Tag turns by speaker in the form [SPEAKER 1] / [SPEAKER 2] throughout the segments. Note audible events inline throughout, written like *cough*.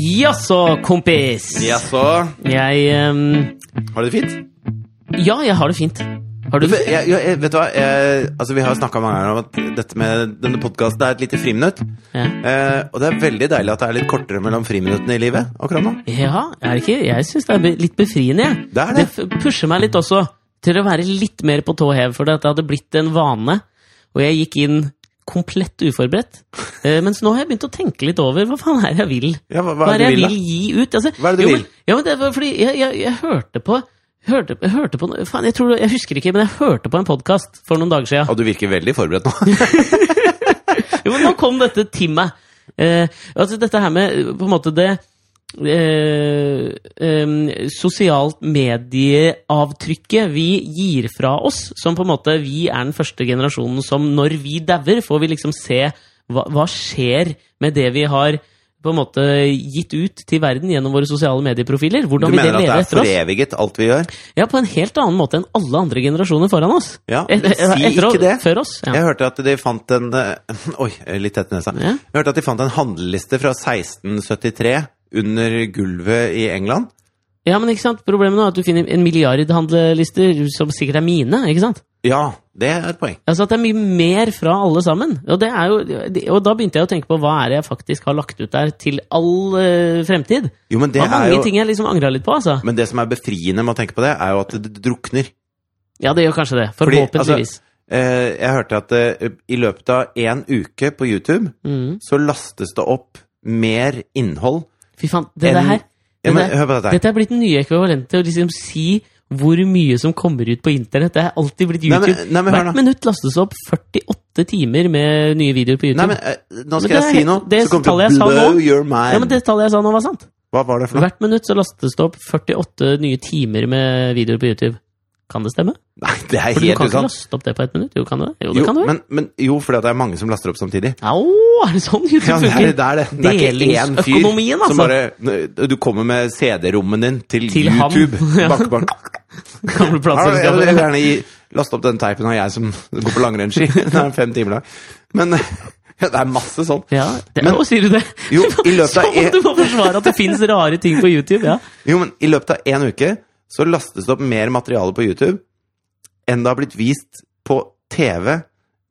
[SPEAKER 1] Jaså, kompis.
[SPEAKER 2] Jaså?
[SPEAKER 1] Jeg ehm,
[SPEAKER 2] Har du det fint?
[SPEAKER 1] Ja, jeg har det fint. Har du
[SPEAKER 2] Du, jeg, jeg, jeg- vet du hva? Jeg, altså, vi har snakka mange ganger om at dette med denne podkasten er et lite friminutt.
[SPEAKER 1] Ja.
[SPEAKER 2] Eh, og det er veldig deilig at det er litt kortere mellom friminuttene i livet akkurat nå.
[SPEAKER 1] Ja, er det ikke? Jeg syns det er be- litt befriende, jeg.
[SPEAKER 2] Det er det.
[SPEAKER 1] f- pusher meg litt også til å være litt mer på tå hev, for det hadde blitt en vane. Og jeg gikk inn komplett uforberedt. Eh, mens nå har jeg begynt å tenke litt over hva faen er det jeg vil?
[SPEAKER 2] Ja, hva,
[SPEAKER 1] Hva er det jeg
[SPEAKER 2] da?
[SPEAKER 1] vil gi ut? Altså,
[SPEAKER 2] Hva er det du
[SPEAKER 1] jo,
[SPEAKER 2] vil?
[SPEAKER 1] Men, ja, men det var fordi jeg, jeg, jeg hørte på Hørte, jeg hørte på, faen, jeg, tror, jeg husker ikke, men jeg hørte på en podkast for noen dager siden.
[SPEAKER 2] Og du virker veldig forberedt nå.
[SPEAKER 1] Jo, men nå kom dette til meg. Eh, altså dette her med eh, på en måte det eh, em, sosialt medieavtrykket vi gir fra oss, som på en måte vi er den første generasjonen som når vi dauer, får vi liksom se hva, hva skjer med det vi har på en måte gitt ut til verden gjennom våre sosiale medieprofiler.
[SPEAKER 2] Du
[SPEAKER 1] Hvordan vil det
[SPEAKER 2] mener
[SPEAKER 1] leve
[SPEAKER 2] at det er
[SPEAKER 1] etter oss?
[SPEAKER 2] foreviget, alt vi gjør?
[SPEAKER 1] Ja, på en helt annen måte enn alle andre generasjoner foran oss.
[SPEAKER 2] Ja,
[SPEAKER 1] Et-
[SPEAKER 2] men
[SPEAKER 1] et-
[SPEAKER 2] si
[SPEAKER 1] etter oss-
[SPEAKER 2] ikke det.
[SPEAKER 1] Før oss. Ja.
[SPEAKER 2] Jeg hørte at de fant en eh, *laughs* Oi, litt tett nesa.
[SPEAKER 1] Ja.
[SPEAKER 2] Jeg hørte at de fant en handleliste fra 1673 under gulvet i England.
[SPEAKER 1] Ja, men ikke sant? Problemet nå er at du finner en milliard handlelister som sikkert er mine. ikke sant?
[SPEAKER 2] Ja, det er et poeng.
[SPEAKER 1] Altså at det er mye mer fra alle sammen. Og, det er jo, og da begynte jeg å tenke på hva er det jeg faktisk har lagt ut der til all eh, fremtid.
[SPEAKER 2] Jo, men
[SPEAKER 1] Det
[SPEAKER 2] det
[SPEAKER 1] var
[SPEAKER 2] er
[SPEAKER 1] mange
[SPEAKER 2] jo
[SPEAKER 1] ting jeg liksom angra litt på, altså.
[SPEAKER 2] Men det som er befriende med å tenke på det, er jo at det drukner.
[SPEAKER 1] Ja, det gjør kanskje det.
[SPEAKER 2] Fordi,
[SPEAKER 1] Forhåpentligvis.
[SPEAKER 2] Eh, jeg hørte at eh, i løpet av én uke på YouTube
[SPEAKER 1] mm.
[SPEAKER 2] så lastes det opp mer innhold
[SPEAKER 1] Fy faen, det der
[SPEAKER 2] en-
[SPEAKER 1] her det
[SPEAKER 2] ja, men,
[SPEAKER 1] der-
[SPEAKER 2] Hør på dette her.
[SPEAKER 1] Dette er blitt den nye ekvivalenten til å liksom si hvor mye som kommer ut på internett. Det er alltid blitt
[SPEAKER 2] Nei, men-
[SPEAKER 1] YouTube.
[SPEAKER 2] nei, men hør nå.
[SPEAKER 1] Hvert minutt lastes opp 48 timer med nye videoer på YouTube.
[SPEAKER 2] Nei, men eh, nå skal
[SPEAKER 1] Men det
[SPEAKER 2] jeg
[SPEAKER 1] er-
[SPEAKER 2] si noe
[SPEAKER 1] det
[SPEAKER 2] som kommer
[SPEAKER 1] tallet jeg
[SPEAKER 2] til
[SPEAKER 1] sa
[SPEAKER 2] å
[SPEAKER 1] nå-
[SPEAKER 2] blow your
[SPEAKER 1] ja, men
[SPEAKER 2] mind.
[SPEAKER 1] det tallet jeg sa nå, var sant.
[SPEAKER 2] Hva var det for noe?
[SPEAKER 1] Hvert minutt så lastes det opp 48 nye timer med videoer på YouTube. Kan det stemme?
[SPEAKER 2] Nei, det er
[SPEAKER 1] For du
[SPEAKER 2] helt
[SPEAKER 1] kan ikke
[SPEAKER 2] usant.
[SPEAKER 1] laste opp det på ett minutt? Jo, kan du det? Jo, det
[SPEAKER 2] Jo,
[SPEAKER 1] kan du vel?
[SPEAKER 2] men, men, jo, fordi at det er mange som laster opp samtidig.
[SPEAKER 1] Au, er det sånn YouTube
[SPEAKER 2] Ja, det er
[SPEAKER 1] funker?
[SPEAKER 2] det. Er det. det er ikke én fyr
[SPEAKER 1] Delingsøkonomien, altså.
[SPEAKER 2] som bare Du kommer med CD-rommen din til,
[SPEAKER 1] Til ham.
[SPEAKER 2] YouTube.
[SPEAKER 1] *laughs* Ja.
[SPEAKER 2] Bakke, bakke.
[SPEAKER 1] Gamle
[SPEAKER 2] Ja, jeg
[SPEAKER 1] plateselskaper.
[SPEAKER 2] vil gjerne gi, laste opp den teipen av jeg som går på langrennsski. *laughs* Det er fem timer lang. Men *laughs* ja, det er masse sånn.
[SPEAKER 1] Ja, det,
[SPEAKER 2] Men-
[SPEAKER 1] å, sier du det? *laughs*
[SPEAKER 2] Jo, i løpet av
[SPEAKER 1] Som om
[SPEAKER 2] en-
[SPEAKER 1] du må forsvare at det fins rare ting på YouTube. ja.
[SPEAKER 2] Jo, men i løpet av én uke så lastes det opp mer materiale på YouTube enn det har blitt vist på TV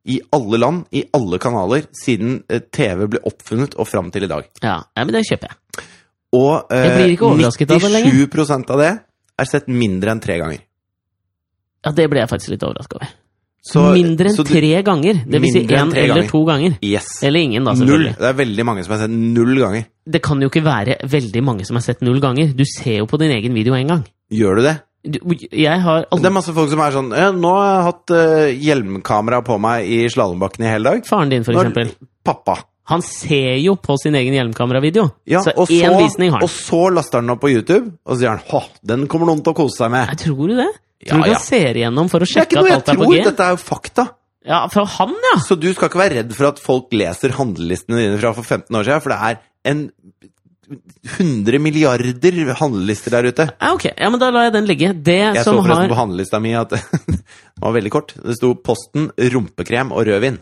[SPEAKER 2] i alle land, i alle kanaler, siden eh, TV ble oppfunnet og fram til i dag.
[SPEAKER 1] Ja, nei, men det kjøper jeg.
[SPEAKER 2] Og eh,
[SPEAKER 1] Jeg blir ikke overrasket av det lenger.
[SPEAKER 2] 97 av det er sett mindre enn tre ganger.
[SPEAKER 1] Ja, Det ble jeg faktisk litt overraska over.
[SPEAKER 2] Så-
[SPEAKER 1] mindre enn
[SPEAKER 2] så du-
[SPEAKER 1] tre ganger. Det vil si
[SPEAKER 2] Mindre enn
[SPEAKER 1] én
[SPEAKER 2] tre
[SPEAKER 1] eller
[SPEAKER 2] ganger.
[SPEAKER 1] to ganger.
[SPEAKER 2] Yes.
[SPEAKER 1] Eller ingen, da,
[SPEAKER 2] Null.
[SPEAKER 1] selvfølgelig.
[SPEAKER 2] Det er veldig mange som har sett null ganger.
[SPEAKER 1] Det kan jo ikke være veldig mange som har sett null ganger. Du ser jo på din egen video én gang.
[SPEAKER 2] Gjør du det?
[SPEAKER 1] Du, jeg har
[SPEAKER 2] Det
[SPEAKER 1] aldri
[SPEAKER 2] er masse folk som er sånn «Ja, Nå har jeg hatt eh, hjelmkamera på meg i slalåmbakken i hele dag.
[SPEAKER 1] Faren din, for
[SPEAKER 2] Når-
[SPEAKER 1] eksempel.
[SPEAKER 2] Pappa.
[SPEAKER 1] Han ser jo på sin egen hjelmkameravideo.
[SPEAKER 2] Ja,
[SPEAKER 1] så
[SPEAKER 2] og,
[SPEAKER 1] én
[SPEAKER 2] så,
[SPEAKER 1] visning har han.
[SPEAKER 2] og så laster han den opp på YouTube, og så sier han Hå, den kommer noen til å kose seg med.
[SPEAKER 1] Jeg tror du det?
[SPEAKER 2] Ja,
[SPEAKER 1] Tror du
[SPEAKER 2] ja.
[SPEAKER 1] han ser igjennom for å
[SPEAKER 2] Det er
[SPEAKER 1] sjekke
[SPEAKER 2] ikke noe
[SPEAKER 1] at
[SPEAKER 2] jeg
[SPEAKER 1] alt er på
[SPEAKER 2] tror,
[SPEAKER 1] G?
[SPEAKER 2] dette er jo fakta.
[SPEAKER 1] Ja, For han, ja!
[SPEAKER 2] Så du skal ikke være redd for at folk leser handlelistene dine fra for 15 år siden, for det er en 100 milliarder handlelister der ute.
[SPEAKER 1] ja! Ok, ja, men da lar jeg den ligge. Det
[SPEAKER 2] Jeg så
[SPEAKER 1] som har
[SPEAKER 2] forresten på handlelista mi at *laughs* den var veldig kort. Det sto 'Posten, rumpekrem og rødvin'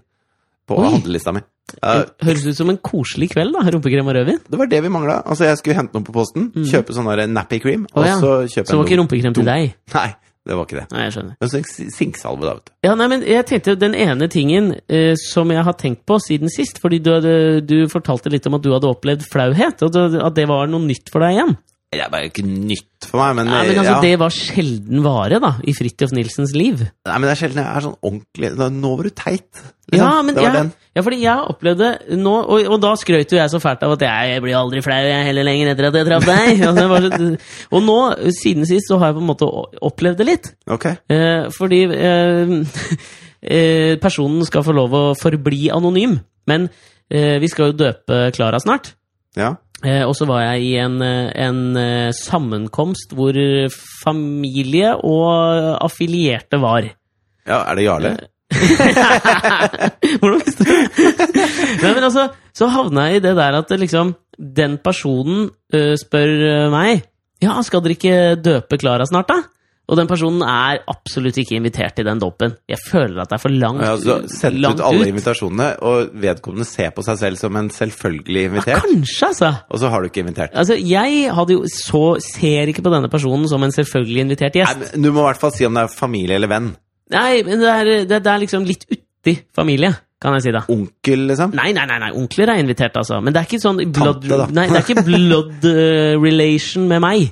[SPEAKER 2] på
[SPEAKER 1] Oi.
[SPEAKER 2] handlelista mi. Eh,
[SPEAKER 1] Høres ut som en koselig kveld, da. Rumpekrem og rødvin.
[SPEAKER 2] det var det vi mangla. Altså, jeg skulle hente noe på Posten, kjøpe sånn der nappy cream,
[SPEAKER 1] Mm. Å,
[SPEAKER 2] og
[SPEAKER 1] ja.
[SPEAKER 2] så kjøpe
[SPEAKER 1] Som var ikke
[SPEAKER 2] dum-
[SPEAKER 1] rumpekrem til
[SPEAKER 2] dum-
[SPEAKER 1] deg.
[SPEAKER 2] Nei, det var ikke det.
[SPEAKER 1] Nei, jeg skjønner.
[SPEAKER 2] Men så en si- sinksalve, da, vet du.
[SPEAKER 1] Ja, nei, men jeg tenkte Den ene tingen eh, som jeg har tenkt på siden sist Fordi du, hadde, du fortalte litt om at du hadde opplevd flauhet, og du, at det var noe nytt for deg igjen.
[SPEAKER 2] Det er bare ikke nytt for meg, men,
[SPEAKER 1] Nei, men
[SPEAKER 2] eh,
[SPEAKER 1] altså,
[SPEAKER 2] ja.
[SPEAKER 1] Det var sjelden vare da, i Fridtjof Nilsens liv.
[SPEAKER 2] Nei, men det er sjelden jeg er sånn ordentlig da, Nå var du teit. liksom.
[SPEAKER 1] Ja, men
[SPEAKER 2] det var
[SPEAKER 1] jeg,
[SPEAKER 2] den.
[SPEAKER 1] ja, fordi jeg opplevde nå Og, og da skrøt jo jeg så fælt av at jeg, jeg blir aldri flau jeg heller lenger etter at jeg traff deg. *laughs* og, det var så, og nå, siden sist, så har jeg på en måte o- opplevd det litt.
[SPEAKER 2] Ok.
[SPEAKER 1] Eh, fordi eh, *laughs* eh, personen skal få lov å forbli anonym. Men eh, vi skal jo døpe Klara snart.
[SPEAKER 2] Ja.
[SPEAKER 1] Eh, og så var jeg i en, eh, en eh, sammenkomst hvor familie og affilierte var.
[SPEAKER 2] ja. Er det Jarle?
[SPEAKER 1] Eh, Hvordan visste du det? Nei, men altså, så havna jeg i det der at det liksom den personen øh, spør øh, meg Ja, skal dere ikke døpe Klara snart, da? Og Og den personen er absolutt ikke invitert til den dåpen. Jeg føler at det er for langt,
[SPEAKER 2] Ja, så sendt
[SPEAKER 1] langt
[SPEAKER 2] ut alle invitasjonene, og vedkommende ser på seg selv som en selvfølgelig
[SPEAKER 1] Ja,
[SPEAKER 2] invitert,
[SPEAKER 1] kanskje, altså!
[SPEAKER 2] og så har du ikke invitert.
[SPEAKER 1] Altså, Jeg hadde jo så ser ikke på denne personen som en selvfølgelig invitert
[SPEAKER 2] Nei,
[SPEAKER 1] gjest.
[SPEAKER 2] men du må i hvert fall si om det er familie eller venn.
[SPEAKER 1] Nei, men det er, det, det er liksom litt uti familie, kan jeg si da.
[SPEAKER 2] Onkel, liksom.
[SPEAKER 1] Nei, nei, nei, nei, onkler er invitert, altså. Men det er ikke sånn blood,
[SPEAKER 2] Tante, da.
[SPEAKER 1] nei, det er ikke blood eh, relation med meg.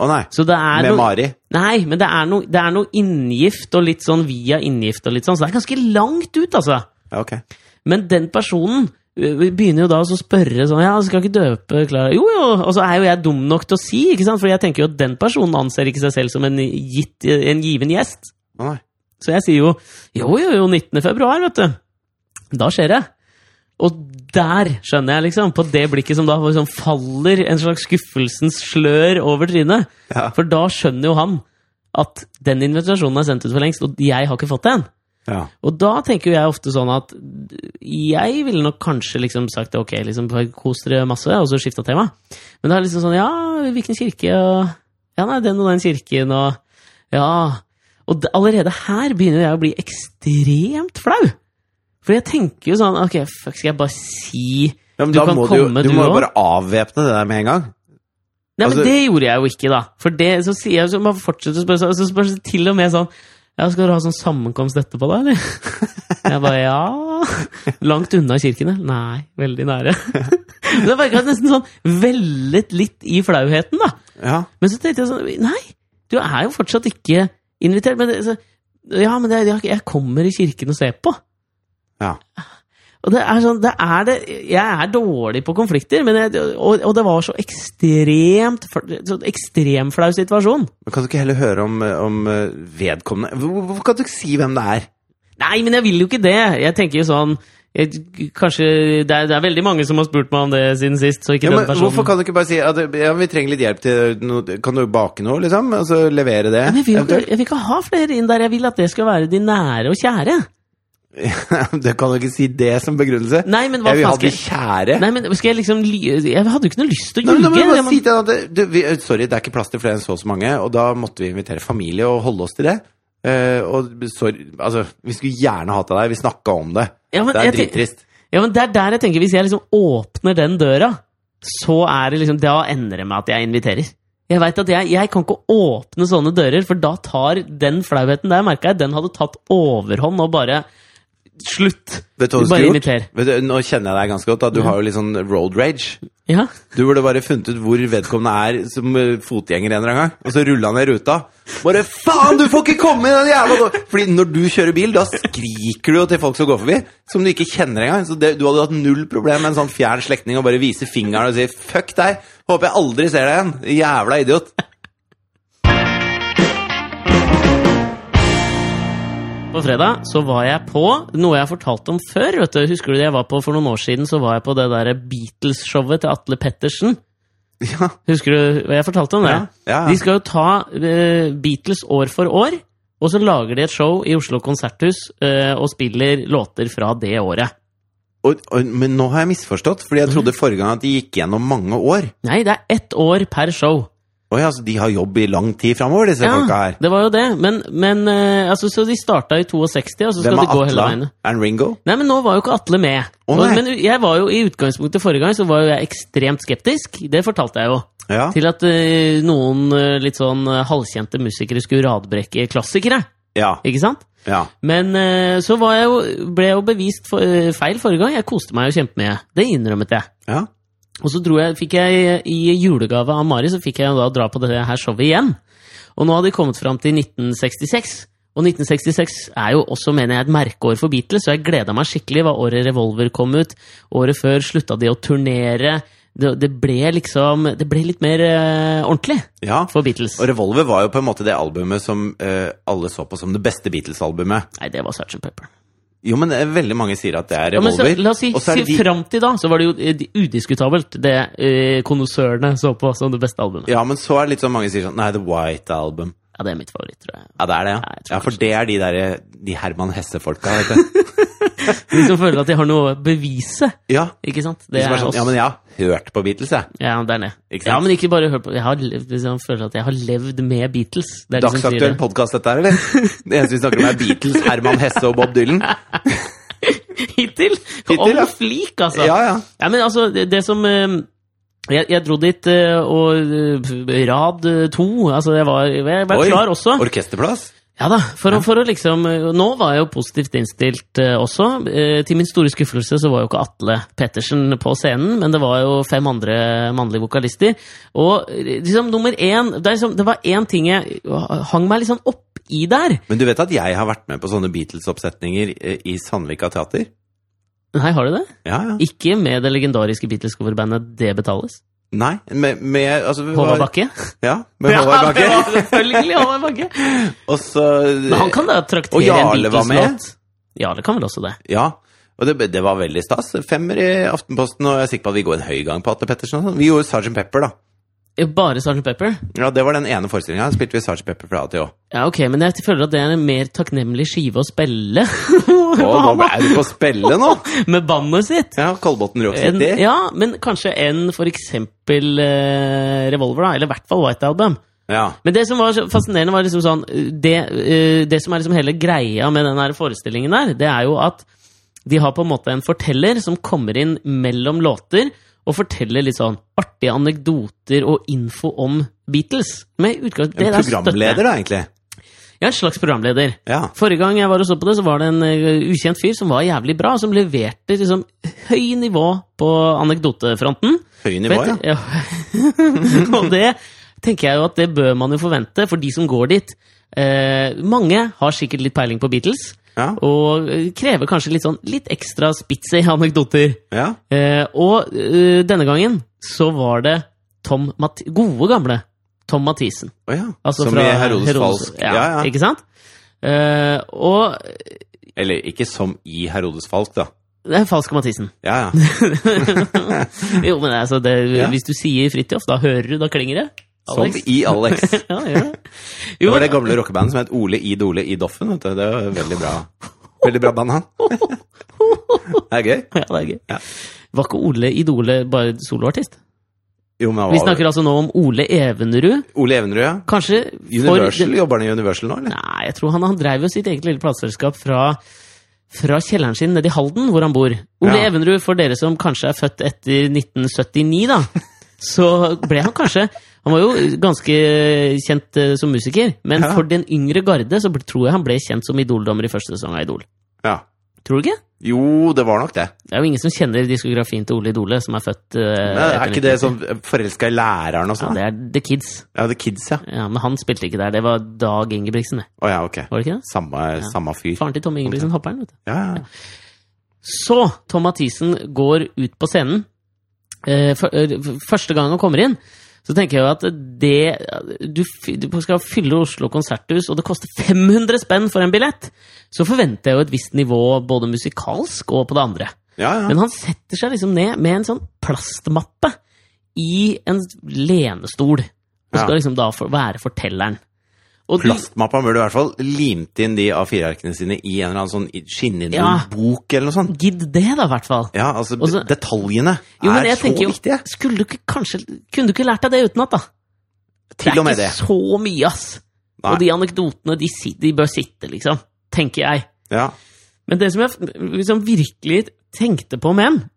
[SPEAKER 2] Å nei.
[SPEAKER 1] Så det er
[SPEAKER 2] Med
[SPEAKER 1] noe,
[SPEAKER 2] Mari.
[SPEAKER 1] nei, men det er noe, det er noe inngift og litt sånn via inngift og litt sånn, så det er ganske langt ut, altså.
[SPEAKER 2] Ja, ok.
[SPEAKER 1] Men den personen ø, begynner jo da å spørre sånn Ja, skal ikke døpe Klara Jo, jo! Og så er jo jeg dum nok til å si, ikke sant? For jeg tenker jo at den personen anser ikke seg selv som en, gitt, en given gjest.
[SPEAKER 2] Å nei.
[SPEAKER 1] Så jeg sier jo Jo, jo, jo, 19. februar, vet du. Da skjer det. Og der skjønner jeg, liksom, på det blikket som da liksom faller en slags skuffelsens slør over trynet.
[SPEAKER 2] Ja.
[SPEAKER 1] For da skjønner jo han at den invitasjonen er sendt ut for lengst, og jeg har ikke fått den.
[SPEAKER 2] ja.
[SPEAKER 1] Og da tenker jo jeg ofte sånn at jeg ville nok kanskje liksom sagt ok, liksom bare kos dere masse, og så skifta tema. Men det er liksom sånn ja, hvilken kirke, og ja, nei, den og den kirken, og ja Og d- allerede her begynner jeg å bli ekstremt flau. For jeg tenker jo sånn ok, fuck, skal jeg bare si
[SPEAKER 2] ja men
[SPEAKER 1] Du
[SPEAKER 2] da
[SPEAKER 1] kan
[SPEAKER 2] må du, jo-
[SPEAKER 1] komme,
[SPEAKER 2] du
[SPEAKER 1] du
[SPEAKER 2] må jo
[SPEAKER 1] også.
[SPEAKER 2] bare avvæpne det der med en gang.
[SPEAKER 1] Nei,
[SPEAKER 2] Altså-
[SPEAKER 1] men det gjorde jeg jo ikke, da. For det, så sier jeg så man fortsetter å spørre, så- så spørs det til og med sånn ja, Skal du ha sånn sammenkomst etterpå, da, eller? Jeg bare ja Langt unna kirkene? Nei, veldig nære. Men Det virka nesten sånn vellet litt i flauheten, da.
[SPEAKER 2] Ja.
[SPEAKER 1] Men så tenkte jeg sånn Nei, du er jo fortsatt ikke invitert. Men det, så, ja, men det, jeg- jeg kommer i kirken og ser på.
[SPEAKER 2] Ja.
[SPEAKER 1] Og det er sånn, det er det, jeg er dårlig på konflikter, men jeg, og, og det var så ekstremt fl- så ekstrem flau situasjon.
[SPEAKER 2] Men kan du ikke heller høre om, eh, om eh, vedkommende Hvor- hvor- Hvorfor kan du ikke si hvem det er?
[SPEAKER 1] Nei, men jeg vil jo ikke det! Jeg tenker jo sånn jeg, Kanskje det er, det er veldig mange som har spurt meg om det siden sist, så ikke
[SPEAKER 2] Ja, men
[SPEAKER 1] den personen
[SPEAKER 2] hvorfor kan du ikke bare si at ja, vi trenger litt hjelp til noe Kan du bake noe, liksom? Og så levere det?
[SPEAKER 1] Men jeg vil, jo ikke,
[SPEAKER 2] eventuelt?
[SPEAKER 1] jeg vil ikke ha flere inn der, jeg vil at det skal være de nære og kjære.
[SPEAKER 2] *laughs* Du kan jo ikke si det som begrunnelse.
[SPEAKER 1] Nei, men hva
[SPEAKER 2] jeg vil ha
[SPEAKER 1] faen skal
[SPEAKER 2] de
[SPEAKER 1] jeg
[SPEAKER 2] kjære.
[SPEAKER 1] Nei, men skal jeg liksom ly- Jeg hadde jo ikke noe lyst til å
[SPEAKER 2] Nei, men da
[SPEAKER 1] ljuge.
[SPEAKER 2] må du
[SPEAKER 1] det
[SPEAKER 2] bare
[SPEAKER 1] må-
[SPEAKER 2] si til han at det- du, vi, Sorry, det er ikke plass til flere enn så og så mange, og da måtte vi invitere familie og holde oss til det. Eh, og sorry, altså, Vi skulle gjerne hatt deg der, vi snakka om det.
[SPEAKER 1] Ja, men
[SPEAKER 2] det er
[SPEAKER 1] jeg tenk-
[SPEAKER 2] drittrist.
[SPEAKER 1] Ja, men det er der jeg tenker Hvis jeg liksom åpner den døra, så er det liksom Da ender det med at jeg inviterer. Jeg vet at jeg, jeg kan ikke åpne sånne dører, for da tar den flauheten der, merka jeg, den hadde tatt overhånd og bare Slutt!
[SPEAKER 2] Vet du hva du
[SPEAKER 1] Bare
[SPEAKER 2] skulle gjort?
[SPEAKER 1] inviter.
[SPEAKER 2] Vet du, nå kjenner jeg deg ganske godt. Da. Du har jo litt sånn road rage.
[SPEAKER 1] Ja.
[SPEAKER 2] Du burde bare funnet ut hvor vedkommende er som eh, fotgjenger en eller annen gang, og så rulla ned ruta. Bare faen, du får ikke komme i den jævla do-" Fordi når du kjører bil, da skriker du jo til folk som går forbi, som du ikke kjenner engang. Så det, du hadde hatt null problem med en sånn fjern slektning og bare vise fingeren og si fuck deg, håper jeg aldri ser deg igjen, jævla idiot. *laughs*
[SPEAKER 1] På fredag så var jeg på noe jeg har fortalt om før. vet du. Husker du det jeg var på for noen år siden? Så var jeg på det der Beatles-showet til Atle Pettersen.
[SPEAKER 2] Ja,
[SPEAKER 1] Husker du hva jeg fortalte om det?
[SPEAKER 2] Ja, ja, ja.
[SPEAKER 1] De skal jo ta eh, Beatles år for år, og så lager de et show i Oslo Konserthus eh, og spiller låter fra det året.
[SPEAKER 2] og, og, Men nå har jeg misforstått, fordi jeg trodde forrige gang at de gikk gjennom mange år.
[SPEAKER 1] Nei, det er ett år per show.
[SPEAKER 2] Oi, altså, de har jobb i lang tid framover, disse folka her.
[SPEAKER 1] det var jo det. Men, men eh, altså, så de starta i 62, og så skal
[SPEAKER 2] Hvem
[SPEAKER 1] de
[SPEAKER 2] er
[SPEAKER 1] gå hele
[SPEAKER 2] Atla?
[SPEAKER 1] veien.
[SPEAKER 2] Er han Ringo?
[SPEAKER 1] Nei, men nå var jo ikke Atle med.
[SPEAKER 2] Å,
[SPEAKER 1] Og-
[SPEAKER 2] nei.
[SPEAKER 1] men jeg var jo i utgangspunktet forrige gang så var jo jeg ekstremt skeptisk. Det fortalte jeg jo.
[SPEAKER 2] Ja.
[SPEAKER 1] Til at eh, noen eh, litt sånn eh, halvkjente musikere skulle radbrekke klassikere.
[SPEAKER 2] Ja.
[SPEAKER 1] Ikke sant?
[SPEAKER 2] ja.
[SPEAKER 1] Men eh, så var jeg jo, ble jeg jo bevist for, eh, feil forrige gang. Jeg koste meg jo kjempemye. Det innrømmet jeg.
[SPEAKER 2] ja.
[SPEAKER 1] Og så dro jeg, fikk jeg i julegave av Mari så fikk jeg jo da dra på det her showet igjen. Og nå hadde de kommet fram til 1966. Og 1966 er jo også mener jeg, et merkeår for Beatles, så jeg gleda meg skikkelig. Det var året Revolver kom ut. Året før slutta de å turnere. Det, det ble liksom Det ble litt mer eh, ordentlig
[SPEAKER 2] ja.
[SPEAKER 1] for Beatles.
[SPEAKER 2] Og Revolver var jo på en måte det albumet som eh, alle så på som det beste Beatles-albumet.
[SPEAKER 1] Nei, det var Sgt. Pepper.
[SPEAKER 2] Jo, men eh, veldig mange sier at det er
[SPEAKER 1] Ja, men så,
[SPEAKER 2] Revolver.
[SPEAKER 1] la oss si,
[SPEAKER 2] Og så er
[SPEAKER 1] si
[SPEAKER 2] det de-
[SPEAKER 1] fram til da, så var det jo eh, de- udiskutabelt det eh, kondosørene så på som det beste albumet. Ja.
[SPEAKER 2] Ja, men så er det litt sånn mange sier sånn Nei, The White Album.
[SPEAKER 1] det er mitt favoritt, tror jeg.
[SPEAKER 2] Ja, det er det,
[SPEAKER 1] Nei,
[SPEAKER 2] ja.
[SPEAKER 1] jeg tror *laughs*
[SPEAKER 2] ja for det er de der, eh, de Herman Hesse-folka, vet du.
[SPEAKER 1] De som føler at de har noe å bevise.
[SPEAKER 2] Ja,
[SPEAKER 1] Ikke sant?
[SPEAKER 2] de
[SPEAKER 1] Det
[SPEAKER 2] som
[SPEAKER 1] er
[SPEAKER 2] er sånn,
[SPEAKER 1] oss.
[SPEAKER 2] ja, men jeg har hørt på Beatles, jeg.
[SPEAKER 1] Ja, det er det.
[SPEAKER 2] Ikke sant?
[SPEAKER 1] Ja, men ikke bare hør på Jeg har levd, liksom, føler at jeg har levd med Beatles. Det er de som sier
[SPEAKER 2] Dagsaktuell
[SPEAKER 1] det.
[SPEAKER 2] podkast, dette her,
[SPEAKER 1] *laughs*
[SPEAKER 2] eller? Det eneste vi snakker om, er Beatles, Herman Hesse og Bob Dylan.
[SPEAKER 1] *laughs* Hittil!
[SPEAKER 2] Hittil,
[SPEAKER 1] Om
[SPEAKER 2] ja.
[SPEAKER 1] flik, *laughs* altså!
[SPEAKER 2] Ja, ja.
[SPEAKER 1] Ja, men altså, det, det som eh, jeg, jeg dro dit eh, og eh, rad eh, to Altså, jeg var, jeg var
[SPEAKER 2] Oi.
[SPEAKER 1] klar også.
[SPEAKER 2] Orkesterplass?
[SPEAKER 1] Ja da, for, å- for å liksom eh, Nå var jeg jo positivt innstilt eh, også. Eh, Til min store skuffelse så var jo ikke Atle Pettersen på scenen, men det var jo fem andre mannlige vokalister. Og eh, liksom nummer én Det, er liksom, det var én ting jeg hang meg litt sånn opp i der.
[SPEAKER 2] Men du vet at jeg har vært med på sånne Beatles-oppsetninger eh, i Sandvika teater?
[SPEAKER 1] Nei, har du det?
[SPEAKER 2] Ja, ja.
[SPEAKER 1] Ikke med det legendariske Beatles-coverbandet Det Betales.
[SPEAKER 2] Nei, med, med altså, vi
[SPEAKER 1] Håvard
[SPEAKER 2] var-
[SPEAKER 1] Bakke.
[SPEAKER 2] Ja, med Håvard Bakke.
[SPEAKER 1] *laughs* Ja, det var selvfølgelig Håvard Bakke.
[SPEAKER 2] Og så
[SPEAKER 1] Men han kan da
[SPEAKER 2] Og
[SPEAKER 1] traktere en
[SPEAKER 2] Jarle var med.
[SPEAKER 1] Beatles-låt. Jarle kan vel også det.
[SPEAKER 2] Ja. Og det, det var veldig stas. Femmer i Aftenposten, og jeg er sikker på at vi går en høy gang på Atle Pettersen. og sånn. Vi gjorde Sgt. Pepper, da.
[SPEAKER 1] Bare Sgt. Pepper?
[SPEAKER 2] Ja, Det var den ene forestillinga. Spilte vi Sgt. Pepper fra A
[SPEAKER 1] *laughs*
[SPEAKER 2] til Å.
[SPEAKER 1] Ja, ok, men jeg føler at det er en mer takknemlig skive å spille. *laughs*
[SPEAKER 2] Å, nå ble du på spille nå!
[SPEAKER 1] Med bandet sitt!
[SPEAKER 2] Ja,
[SPEAKER 1] *laughs*
[SPEAKER 2] Kolbotn Rock
[SPEAKER 1] En,
[SPEAKER 2] City.
[SPEAKER 1] ja, men kanskje enn for eksempel eh, Revolver, da. Eller i hvert fall White Album.
[SPEAKER 2] Ja.
[SPEAKER 1] Men det som var så fascinerende, var liksom sånn eh, Det, eh, det som er liksom hele greia med den her forestillingen der, det er jo at de har på en måte en forteller som kommer inn mellom låter og forteller litt sånn artige anekdoter og info om Beatles. Med utgangs- det
[SPEAKER 2] En
[SPEAKER 1] der støtter jeg.
[SPEAKER 2] programleder, da, egentlig.
[SPEAKER 1] Ja, en slags programleder.
[SPEAKER 2] Ja.
[SPEAKER 1] Forrige gang jeg var og så på det, så var det en eh, ukjent fyr som var jævlig bra, som leverte liksom høy nivå på anekdotefronten.
[SPEAKER 2] Høy nivå, ja.
[SPEAKER 1] Vet- ja. *laughs* og det tenker jeg jo at det bør man jo forvente for de som går dit. Eh, mange har sikkert litt peiling på Beatles,
[SPEAKER 2] Ja.
[SPEAKER 1] og eh, krever kanskje litt sånn litt ekstra spitzy anekdoter.
[SPEAKER 2] ja.
[SPEAKER 1] Eh, og eh, denne gangen så var det Tom Mat gode gamle Tom Mathisen.
[SPEAKER 2] Å ja.
[SPEAKER 1] Altså
[SPEAKER 2] som
[SPEAKER 1] fra
[SPEAKER 2] i Herodes, Falsk.
[SPEAKER 1] Ja,
[SPEAKER 2] Ja, ja.
[SPEAKER 1] Ikke sant? Eh, og
[SPEAKER 2] Eller ikke som i Herodes Falsk, da.
[SPEAKER 1] det er falsk
[SPEAKER 2] *laughs*
[SPEAKER 1] Mathisen.
[SPEAKER 2] Ja, ja.
[SPEAKER 1] *laughs* jo, men altså, det,
[SPEAKER 2] Ja.
[SPEAKER 1] hvis du sier Fridtjof, da hører du, da klinger det.
[SPEAKER 2] Som
[SPEAKER 1] Alex.
[SPEAKER 2] i Alex.
[SPEAKER 1] *laughs* ja, det gjør det.
[SPEAKER 2] Det
[SPEAKER 1] Jo,
[SPEAKER 2] var det gamle rockebandet som het Ole I Dole I Doffen. Vet du. Det var veldig bra. Veldig bra band, han.
[SPEAKER 1] *laughs*
[SPEAKER 2] Det er gøy.
[SPEAKER 1] ja, det er gøy.
[SPEAKER 2] Ja.
[SPEAKER 1] Var ikke Ole Idole bare soloartist?
[SPEAKER 2] Jo, men han
[SPEAKER 1] Vi
[SPEAKER 2] var-
[SPEAKER 1] snakker altså nå om Ole Evenrud.
[SPEAKER 2] Ole Evenrud, ja.
[SPEAKER 1] Kanskje
[SPEAKER 2] Universal,
[SPEAKER 1] For,
[SPEAKER 2] Jobber han i Universal nå, eller?
[SPEAKER 1] nei, jeg tror han, han drev jo sitt eget lille plateselskap fra, fra kjelleren sin nede i Halden, hvor han bor. Ole
[SPEAKER 2] Ja.
[SPEAKER 1] Evenrud, for dere som kanskje er født etter 1979,
[SPEAKER 2] *laughs*
[SPEAKER 1] da. Så ble han kanskje Han var jo ganske kjent eh, som musiker, men
[SPEAKER 2] Ja.
[SPEAKER 1] for den yngre garde så ble, tror jeg han ble kjent som idoldommer i første sesong av Idol.
[SPEAKER 2] Ja.
[SPEAKER 1] Tror du ikke?
[SPEAKER 2] Jo, det var nok det.
[SPEAKER 1] Det er jo ingen som kjenner diskografien til Ole Idole, som er født eh,
[SPEAKER 2] Men er
[SPEAKER 1] etter
[SPEAKER 2] ikke det
[SPEAKER 1] 1990.
[SPEAKER 2] sånn forelska i læreren og
[SPEAKER 1] Ja,
[SPEAKER 2] sånn?
[SPEAKER 1] det er The Kids.
[SPEAKER 2] Ja, The Kids, ja.
[SPEAKER 1] Ja, Men han spilte ikke der. Det var Dag Ingebrigtsen, det.
[SPEAKER 2] Å ja, ok.
[SPEAKER 1] Var det ikke det?
[SPEAKER 2] Samme, samme fyr.
[SPEAKER 1] Faren til Tom Ingebrigtsen, hopperen. vet du.
[SPEAKER 2] Ja, ja.
[SPEAKER 1] Så Tom Mathisen går ut på scenen. Eh, for, eh, f- første gang han kommer inn, så tenker jeg jo at det du, f- du skal fylle Oslo konserthus, og det koster 500 spenn for en billett, så forventer jeg jo et visst nivå både musikalsk og på det andre.
[SPEAKER 2] ja, ja.
[SPEAKER 1] Men han setter seg liksom ned med en sånn plastmappe i en lenestol. Og
[SPEAKER 2] Ja.
[SPEAKER 1] skal liksom da for, være fortelleren. Og du-
[SPEAKER 2] Plastmappa burde i hvert fall limt inn de A4-arkene sine i en eller annen sånn skinnende
[SPEAKER 1] Ja.
[SPEAKER 2] bok eller noe sånt.
[SPEAKER 1] gidd det, da, i hvert fall.
[SPEAKER 2] Ja, altså
[SPEAKER 1] Og så-
[SPEAKER 2] detaljene
[SPEAKER 1] Jo, men
[SPEAKER 2] er
[SPEAKER 1] jeg
[SPEAKER 2] så
[SPEAKER 1] tenker jo,
[SPEAKER 2] viktige.
[SPEAKER 1] skulle du ikke kanskje Kunne du ikke lært deg det utenat, da?
[SPEAKER 2] Til og
[SPEAKER 1] Det
[SPEAKER 2] med det.
[SPEAKER 1] er ikke så mye, ass.
[SPEAKER 2] Nei.
[SPEAKER 1] Og de anekdotene, de, si- de bør sitte, liksom. Tenker jeg.
[SPEAKER 2] Ja.
[SPEAKER 1] Men det som jeg f- liksom virkelig tenkte på med en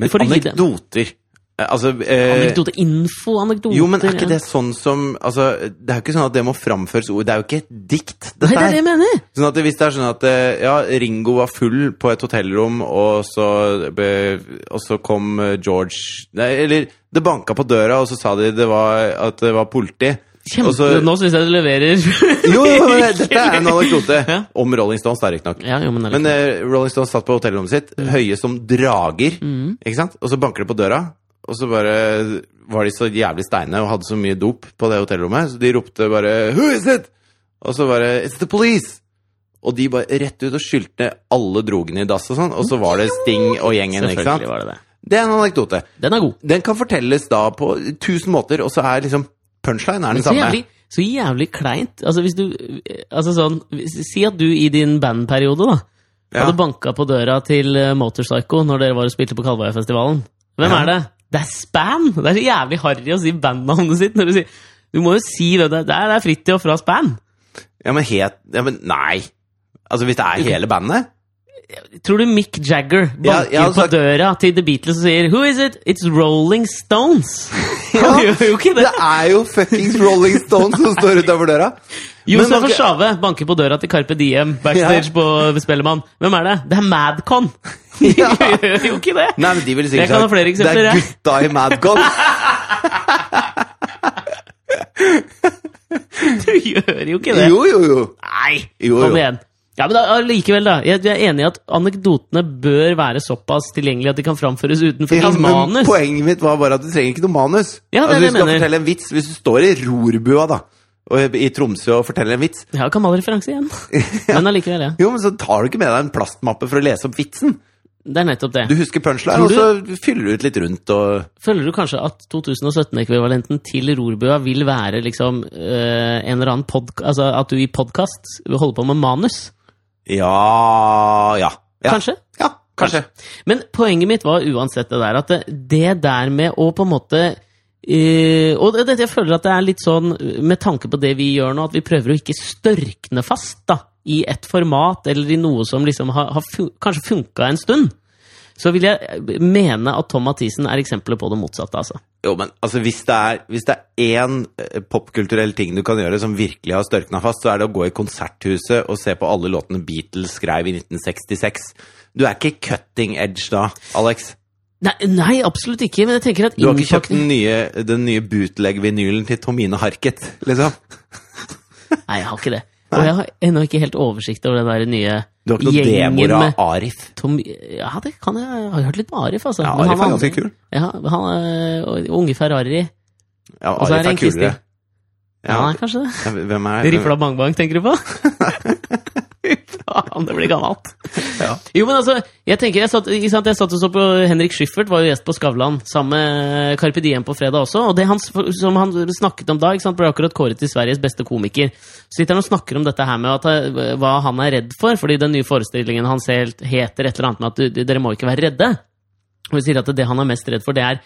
[SPEAKER 2] Men
[SPEAKER 1] For å gi dem-
[SPEAKER 2] anekdoter eh, Altså eh,
[SPEAKER 1] Anekdote, info, anekdoter
[SPEAKER 2] Jo, men er ikke det sånn som altså, Det er jo ikke sånn at det må framføres ord. Det er jo ikke et dikt,
[SPEAKER 1] Nei,
[SPEAKER 2] dette
[SPEAKER 1] det er det
[SPEAKER 2] her.
[SPEAKER 1] jeg mener!
[SPEAKER 2] Sånn at Hvis det er sånn at eh, ja, Ringo var full på et hotellrom, og så, eh, og så kom eh, George Nei, eller det banka på døra, og så sa de det var, at det var politi.
[SPEAKER 1] Kjempe,
[SPEAKER 2] Og så-
[SPEAKER 1] Nå syns jeg du leverer.
[SPEAKER 2] Jo,
[SPEAKER 1] *laughs*
[SPEAKER 2] jo, jo, dette er en anekdote
[SPEAKER 1] Ja.
[SPEAKER 2] om Rolling Stones, da, riktignok.
[SPEAKER 1] ja, jo, men, det er
[SPEAKER 2] Men
[SPEAKER 1] litt-
[SPEAKER 2] eh, Rolling Stones satt på hotellrommet sitt,
[SPEAKER 1] Mm.
[SPEAKER 2] høye som drager, ikke sant? Og så banker det på døra, og så bare var de så jævlig steine og hadde så mye dop på det hotellrommet, så de ropte bare 'Who is it?' Og så bare 'It's the police'. Og de bare rett ut og skyldte ned alle drogene i dass og sånn, og så var det Sting og gjengen, ikke sant?
[SPEAKER 1] Selvfølgelig var det det.
[SPEAKER 2] Det er en anekdote.
[SPEAKER 1] Den er god.
[SPEAKER 2] Den kan fortelles da på tusen måter, og så er liksom punchline er den
[SPEAKER 1] Så
[SPEAKER 2] samme.
[SPEAKER 1] jævlig, så jævlig kleint. Altså, hvis du eh, Altså, sånn hvis- Si at du i din bandperiode, da,
[SPEAKER 2] Ja.
[SPEAKER 1] Hadde banka på døra til eh, Motorpsycho når dere var og spilte på Kalvøyafestivalen. Hvem
[SPEAKER 2] Ja.
[SPEAKER 1] er det? Det er Span! Det er så jævlig harry å si bandnavnet sitt. Når du, sier, du må jo si hvem det er. Det er, det er Fridtjof fra Span.
[SPEAKER 2] Ja, men het Ja, men nei! Altså, hvis det er hele bandet
[SPEAKER 1] Tror du Mick Jagger
[SPEAKER 2] Ja,
[SPEAKER 1] banker
[SPEAKER 2] altså- jeg hadde
[SPEAKER 1] på
[SPEAKER 2] sagt-
[SPEAKER 1] døra til The Beatles og sier Who is it? It's Rolling Stones!
[SPEAKER 2] *laughs*
[SPEAKER 1] *laughs* Han gjør jo ikke
[SPEAKER 2] Det
[SPEAKER 1] det!
[SPEAKER 2] er jo fuckings Rolling Stones som står utafor døra! Men
[SPEAKER 1] Josef
[SPEAKER 2] ok-
[SPEAKER 1] Schave banker på døra til Carpe Diem backstage
[SPEAKER 2] Ja.
[SPEAKER 1] på Spellemann. Hvem er det? Det er
[SPEAKER 2] *laughs*
[SPEAKER 1] Madcon!
[SPEAKER 2] Ja.
[SPEAKER 1] De gjør jo ikke det!
[SPEAKER 2] Nei, men de ville
[SPEAKER 1] Jeg
[SPEAKER 2] sikkert
[SPEAKER 1] kan ha flere eksempler,
[SPEAKER 2] det er
[SPEAKER 1] jeg."
[SPEAKER 2] gutta i Madcon.
[SPEAKER 1] *laughs* Du gjør jo ikke det!
[SPEAKER 2] Jo, jo, jo.
[SPEAKER 1] Nei!
[SPEAKER 2] Jo,
[SPEAKER 1] Kom
[SPEAKER 2] jo.
[SPEAKER 1] igjen. Ja, men da- Allikevel, da. Jeg jeg er enig i at anekdotene bør være såpass tilgjengelige at de kan framføres utenfor
[SPEAKER 2] Ja,
[SPEAKER 1] deres
[SPEAKER 2] men
[SPEAKER 1] manus.
[SPEAKER 2] Poenget mitt var bare at du trenger ikke noe manus.
[SPEAKER 1] Ja, det er det
[SPEAKER 2] altså, hvis du skal
[SPEAKER 1] jeg mener.
[SPEAKER 2] fortelle en vits, hvis du står i rorbua da, og i Tromsø og forteller en vits,
[SPEAKER 1] Ja, Kamal-referanse igjen. Men allikevel, ja.
[SPEAKER 2] jo, men så tar du ikke med deg en plastmappe for å lese opp vitsen.
[SPEAKER 1] Det er nettopp det.
[SPEAKER 2] Du husker punchline,
[SPEAKER 1] Tror
[SPEAKER 2] og
[SPEAKER 1] du-
[SPEAKER 2] så fyller du ut litt rundt og
[SPEAKER 1] Føler du kanskje at 2017-ekvivalenten til Rorbua vil være liksom eh, en eller annen podk... Altså at du i podkast holder på med manus?
[SPEAKER 2] Ja, ja. ja.
[SPEAKER 1] Kanskje?
[SPEAKER 2] Ja, kanskje.
[SPEAKER 1] Men poenget mitt var uansett det der at det, det der med å på en måte eh, og det, det, jeg føler at det er litt sånn, eh, med tanke på det vi gjør nå, at vi prøver å ikke størkne fast da, i et format eller i noe som liksom har, har fun kanskje funka en stund. Så vil jeg eh, mene at Tom Mathisen er eksempelet på det motsatte, altså.
[SPEAKER 2] Jo, men altså, hvis det er, hvis det er én eh, popkulturell ting du kan gjøre som virkelig har størkna fast, så er det å gå i konserthuset og se på alle låtene Beatles skrev i 1966. Du er ikke cutting edge da, Alex.
[SPEAKER 1] Nei, nei, absolutt ikke, men jeg tenker at
[SPEAKER 2] Du har ikke kjøpt
[SPEAKER 1] innpakning-
[SPEAKER 2] den nye, den nye bootleg-vinylen til Tomine Harket, liksom?
[SPEAKER 1] Nei, jeg har ikke det. Og jeg har ennå ikke helt oversikt over den der nye
[SPEAKER 2] Du har ikke noen demoer av Arif?
[SPEAKER 1] Tom Ja, det kan jeg. Jeg har hørt litt på Arif, altså.
[SPEAKER 2] Ja,
[SPEAKER 1] Men
[SPEAKER 2] Arif
[SPEAKER 1] han
[SPEAKER 2] er ganske kul.
[SPEAKER 1] Ja, han er og Unge Ferrari.
[SPEAKER 2] Ja,
[SPEAKER 1] Og så er
[SPEAKER 2] Arif
[SPEAKER 1] det en
[SPEAKER 2] er kulere.
[SPEAKER 1] Kristin. Ja,
[SPEAKER 2] Ja,
[SPEAKER 1] kanskje det.
[SPEAKER 2] ja, hvem er
[SPEAKER 1] Rifla Bang Bang, tenker du på? *laughs* Fy Faen, det blir gammelt.
[SPEAKER 2] Ja.
[SPEAKER 1] Jo, men altså, jeg tenker, jeg satt, ikke sant, jeg satt og så på Henrik Schyffert, var jo gjest på Skavlan, sammen med Carpe Diem på fredag også, og det han, s- som han snakket om da, ikke sant, ble akkurat kåret til Sveriges beste komiker. Så sitter han og snakker om dette her med at, eh, hva han er redd for, fordi den nye forestillingen hans helt heter et eller annet med at du, du- dere må ikke være redde. Og vi sier at det han er mest redd for, det er